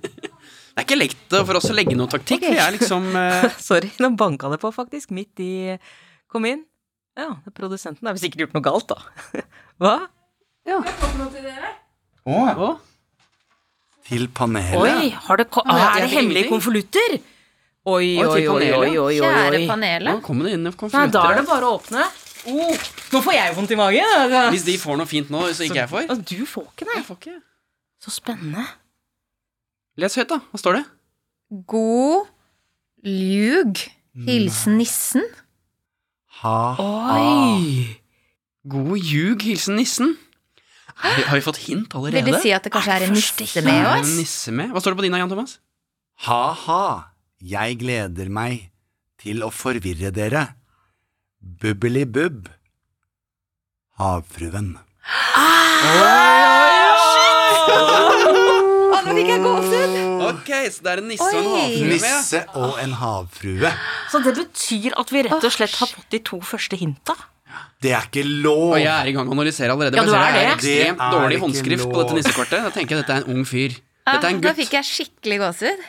[SPEAKER 4] er ikke lett eh, for oss å legge noen taktikk. Vi er liksom eh,
[SPEAKER 3] Sorry, nå banka det på faktisk, midt i Kom inn. Ja, produsenten har vel sikkert gjort noe galt, da. [laughs] Hva? Ja.
[SPEAKER 5] Å! Til panelet.
[SPEAKER 3] Oi, har det ko
[SPEAKER 4] Ja,
[SPEAKER 3] er
[SPEAKER 4] jeg
[SPEAKER 3] det
[SPEAKER 4] fikk
[SPEAKER 3] hemmelige
[SPEAKER 4] ingenting.
[SPEAKER 3] konvolutter? Oi, oi, oi, oi, oi, oi, oi.
[SPEAKER 4] Nå kommer det inn
[SPEAKER 3] Nei, da er det
[SPEAKER 4] konflikter.
[SPEAKER 3] bare å åpne. Oh, nå får jeg vondt i magen. altså.
[SPEAKER 4] Hvis de får noe fint nå, så ikke jeg får.
[SPEAKER 3] Du får ikke det. Så spennende.
[SPEAKER 4] Les høyt, da. Hva står det?
[SPEAKER 6] God Mm. ljug. Hilsen nissen.
[SPEAKER 5] Ha,
[SPEAKER 4] Ah.
[SPEAKER 3] Oi!
[SPEAKER 4] God ljug, hilsen nissen. Har vi, har vi fått hint allerede?
[SPEAKER 6] Vil det si at det kanskje er en nisse med
[SPEAKER 4] Er det
[SPEAKER 6] oss?
[SPEAKER 4] en nisse med? Hva står det på dina, Jan Thomas?
[SPEAKER 5] Ha-ha, jeg gleder meg til å forvirre dere. Bubbeli-bubb. Havfruen.
[SPEAKER 4] Å,
[SPEAKER 6] nå fikk jeg gåsehud!
[SPEAKER 4] Ok, så det er en nisse og
[SPEAKER 3] Oi.
[SPEAKER 4] en havfrue med. ja.
[SPEAKER 5] Nisse og en havfrue.
[SPEAKER 3] Så det betyr at vi rett og slett har fått de to første hinta.
[SPEAKER 5] Det er ikke lov!
[SPEAKER 4] Og jeg er i gang med å analysere allerede.
[SPEAKER 3] Ja,
[SPEAKER 4] for jeg
[SPEAKER 3] du
[SPEAKER 4] ser
[SPEAKER 3] er det.
[SPEAKER 4] det er ekstremt
[SPEAKER 3] Det er
[SPEAKER 4] dårlig
[SPEAKER 3] ikke
[SPEAKER 4] håndskrift på
[SPEAKER 3] lov.
[SPEAKER 4] dette nissekortet. Da tenker jeg dette er en ung fyr.
[SPEAKER 6] Ah,
[SPEAKER 4] Dette er en
[SPEAKER 6] Da
[SPEAKER 4] gutt.
[SPEAKER 6] fikk jeg skikkelig gåsehud.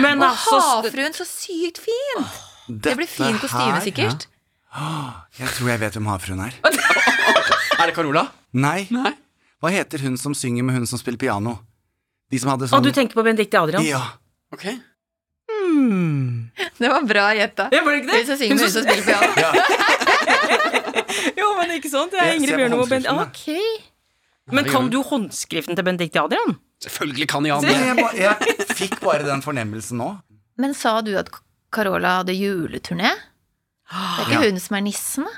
[SPEAKER 3] Men
[SPEAKER 6] og
[SPEAKER 3] altså-
[SPEAKER 6] havfruen, så sykt fin! Det blir fin
[SPEAKER 5] Dette
[SPEAKER 6] kostyme,
[SPEAKER 5] her-
[SPEAKER 6] sikkert. [laughs]
[SPEAKER 5] Ja. Jeg tror jeg vet hvem havfruen er.
[SPEAKER 4] er det Carola?
[SPEAKER 5] Nei. Hva heter hun som synger med hun som spiller piano? De som hadde
[SPEAKER 3] Og
[SPEAKER 5] sånn
[SPEAKER 3] du tenker på Benedicte Adrian?
[SPEAKER 5] Ja.
[SPEAKER 3] Hmm.
[SPEAKER 6] Det var bra gjetta.
[SPEAKER 3] Ja, var det ikke det?
[SPEAKER 6] Hun som synger med hun som spiller piano.
[SPEAKER 3] jo, men ikke sant? Det
[SPEAKER 4] Ja,
[SPEAKER 3] er
[SPEAKER 4] se
[SPEAKER 3] Ingrid
[SPEAKER 4] på
[SPEAKER 3] Bjørnov og Bend...
[SPEAKER 4] håndskriften, da.
[SPEAKER 3] Ok. Men
[SPEAKER 4] det gjør
[SPEAKER 3] kan
[SPEAKER 4] hun.
[SPEAKER 3] du håndskriften til Benedicte Adrian?
[SPEAKER 4] Selvfølgelig kan Jan
[SPEAKER 6] [laughs]
[SPEAKER 5] Nei, jeg,
[SPEAKER 4] det.
[SPEAKER 5] ba- jeg fikk bare den fornemmelsen nå.
[SPEAKER 6] Men sa du at Carola hadde juleturné? Det er
[SPEAKER 4] Ja.
[SPEAKER 6] ikke hun som er nissen, da?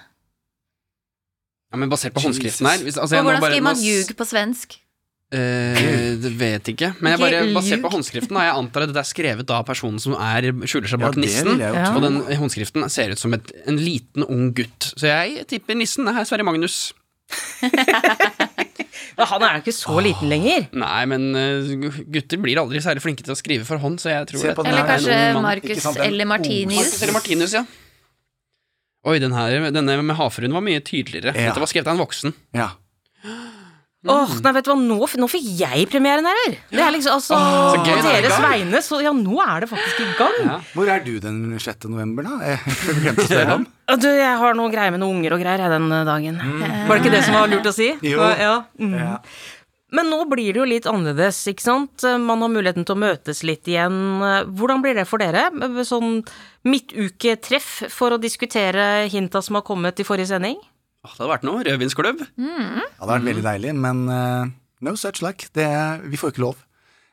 [SPEAKER 4] Ja, men basert på håndskriften her hvis- altså, jeg
[SPEAKER 6] Og
[SPEAKER 4] nå
[SPEAKER 6] hvordan
[SPEAKER 4] bare-
[SPEAKER 6] skriver
[SPEAKER 4] nå
[SPEAKER 6] man
[SPEAKER 4] s-
[SPEAKER 6] ljug på svensk?
[SPEAKER 4] Eh, det vet ikke. Men jeg
[SPEAKER 6] Ok,
[SPEAKER 4] bare basert på
[SPEAKER 6] ljug.
[SPEAKER 4] håndskriften da, jeg antar at det er skrevet av personen som er, skjuler seg
[SPEAKER 5] Ja,
[SPEAKER 4] bak
[SPEAKER 5] det
[SPEAKER 4] nissen.
[SPEAKER 5] vil jeg jo tro.
[SPEAKER 4] Og den håndskriften ser ut som et, en liten, ung gutt. Så jeg tipper nissen er Sverre Magnus.
[SPEAKER 3] Men han er jo ikke så liten lenger.
[SPEAKER 4] Nei, men eh, gutter blir aldri særlig flinke til å skrive for hånd, så jeg tror
[SPEAKER 5] Se på
[SPEAKER 4] dette
[SPEAKER 5] den
[SPEAKER 4] er
[SPEAKER 6] Eller
[SPEAKER 4] en
[SPEAKER 6] kanskje
[SPEAKER 4] ung mann.
[SPEAKER 6] Marcus
[SPEAKER 4] Ikke sant, den-
[SPEAKER 6] eller Martinius?
[SPEAKER 4] Marcus eller Martinus, ja. Oi, den her, denne med havfruen var mye tydeligere.
[SPEAKER 5] Ja.
[SPEAKER 4] Dette var skrevet av en
[SPEAKER 5] [laughs]
[SPEAKER 4] voksen.
[SPEAKER 5] Ja. Mm.
[SPEAKER 3] Åh, nei, vet du hva, nå, f- nå fikk jeg premieren her! eller? Det er liksom, altså,
[SPEAKER 5] Åh, så
[SPEAKER 3] På
[SPEAKER 5] gøy, nå er det i
[SPEAKER 3] deres
[SPEAKER 5] gang.
[SPEAKER 3] vegne, så ja, nå er det faktisk i gang.
[SPEAKER 5] Hvor er du den 6. november, da? Jeg glemte å
[SPEAKER 4] [laughs]
[SPEAKER 5] spørre om.
[SPEAKER 3] Og Du, jeg har noen greier med noen unger og greier jeg, den eh, dagen. Var det ikke det som var lurt å si?
[SPEAKER 5] Mm. Jo.
[SPEAKER 3] Hva- Ja. Mm.
[SPEAKER 5] Ja.
[SPEAKER 3] Men nå blir det jo litt annerledes, ikke sant? Man har muligheten til å møtes litt igjen. Hvordan blir det for dere? Sånn midtuketreff for å diskutere hinta som har kommet i forrige sending?
[SPEAKER 4] Åh, Det hadde vært noe. Rødvinsklubb.
[SPEAKER 5] Det hadde vært veldig deilig, men eh, no such luck. Det, vi får ikke lov.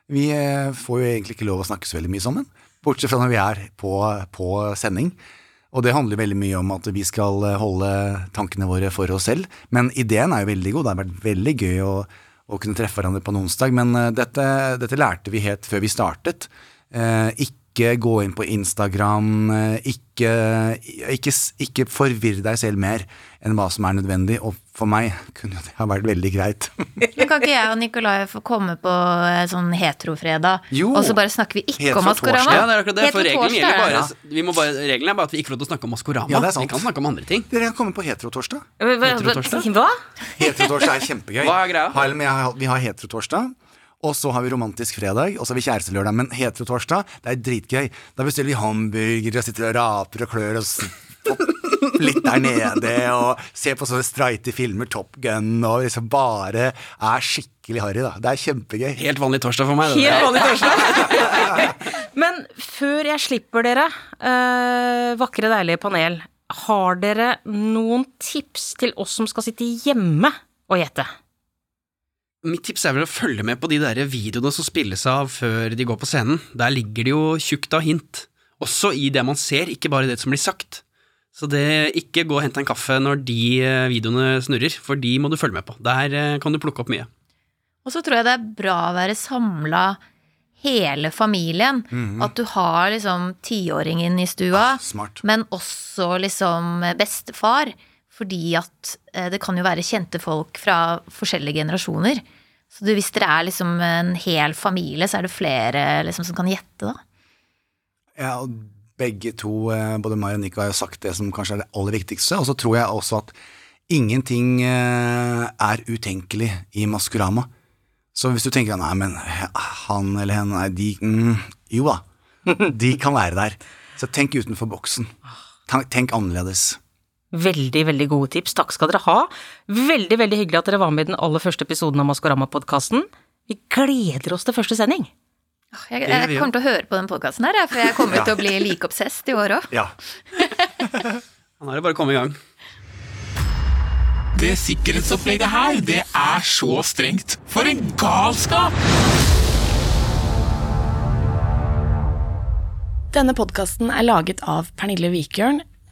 [SPEAKER 5] Vi eh, får jo egentlig ikke lov å snakke så veldig mye sammen, bortsett fra når vi er på, på sending. Og det handler veldig mye om at vi skal eh, holde tankene våre for oss selv. Men ideen er jo veldig god. Det har vært veldig gøy å, å kunne treffe hverandre på en onsdag. Men eh, dette, dette lærte vi helt før vi startet. Eh, ikke gå inn på Instagram, eh, ikke, ikke, s- ikke forvirre deg selv mer enn hva som er nødvendig. Og for meg kunne jo det ha vært veldig greit. [laughs]
[SPEAKER 6] Men kan ikke jeg og Nikolai få komme på eh, sånn heterofredag,
[SPEAKER 5] Jo.
[SPEAKER 6] og så bare snakker vi ikke om Maskorama?
[SPEAKER 4] Ja, det er akkurat det. For
[SPEAKER 6] Heterotorsdag,
[SPEAKER 4] regelen gjelder bare,
[SPEAKER 6] ja.
[SPEAKER 4] vi må bare Regelen er bare at vi ikke får lov til å snakke om Maskorama.
[SPEAKER 5] Ja, det er sant.
[SPEAKER 4] Vi kan snakke om andre ting.
[SPEAKER 5] Dere kan komme på heterotorsdag.
[SPEAKER 3] Hva?
[SPEAKER 4] Heterotorsdag?
[SPEAKER 3] hva?
[SPEAKER 5] Heterotorsdag er kjempegøy.
[SPEAKER 4] Hva er greia?
[SPEAKER 5] Harlem, jeg har- vi har heterotorsdag. Og så har vi romantisk fredag, og så har vi kjærestelørdag. Men heterotorsdag, det er dritgøy. Da bestiller vi hamburgere og sitter og raper og klør oss opp litt der nede. Og ser på sånne streite filmer, Top Gun, og liksom bare er skikkelig harry, da. Det er kjempegøy.
[SPEAKER 4] Helt vanlig torsdag for meg. det
[SPEAKER 3] Helt
[SPEAKER 4] der.
[SPEAKER 3] vanlig [laughs] Men før jeg slipper dere, eh, vakre, deilige panel, har dere noen tips til oss som skal sitte hjemme og gjette?
[SPEAKER 4] Mitt tips er vel å følge med på de der videoene som spilles av før de går på scenen. Der ligger det jo tjukt av hint. Også i det man ser, ikke bare det som blir sagt. Så det, ikke gå og hent en kaffe når de eh, videoene snurrer, for de må du følge med på. Der eh, kan du plukke opp mye.
[SPEAKER 6] Og så tror jeg det er bra å være samla hele familien.
[SPEAKER 4] Mhm. Ah,
[SPEAKER 6] At du har liksom tiåringen i stua,
[SPEAKER 5] smart.
[SPEAKER 6] men også liksom bestefar. Fordi at eh, det kan jo være kjente folk fra forskjellige generasjoner. Så du, hvis dere er liksom en hel familie, så er det flere liksom som kan gjette, da.
[SPEAKER 5] Ja, og begge to, eh, både meg og Nico, har jo sagt det som kanskje er det aller viktigste. Og så tror jeg også at ingenting eh, er utenkelig i Maskorama. Så hvis du tenker nei, men han eller henne, nei, de mm, Jo da, de kan være der. Så tenk utenfor boksen. Tenk, tenk annerledes.
[SPEAKER 3] Veldig, veldig gode tips. Takk skal dere ha. Veldig, veldig hyggelig at dere var med i den aller første episoden av Maskorama-podkasten. Vi gleder oss til første sending.
[SPEAKER 6] Jeg,
[SPEAKER 3] Det gjør
[SPEAKER 6] jeg
[SPEAKER 3] vi jo.
[SPEAKER 6] kommer til å høre på den podkasten her, jeg, for jeg
[SPEAKER 3] [laughs]
[SPEAKER 6] kommer
[SPEAKER 4] Ja.
[SPEAKER 6] til å bli like obsessed i år òg.
[SPEAKER 5] Ja.
[SPEAKER 4] Nå er det bare å komme i gang.
[SPEAKER 11] Det sikkerhetsopplegget her, det er så strengt. For en galskap!
[SPEAKER 14] Denne podkasten er laget av Pernille Vikjørn,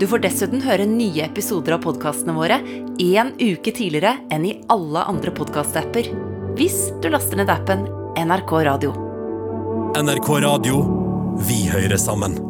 [SPEAKER 13] Du får dessuten høre nye episoder av podkastene våre én uke tidligere enn i alle andre podkastapper. Hvis du laster ned appen NRK Radio.
[SPEAKER 7] NRK Radio. Vi hører sammen.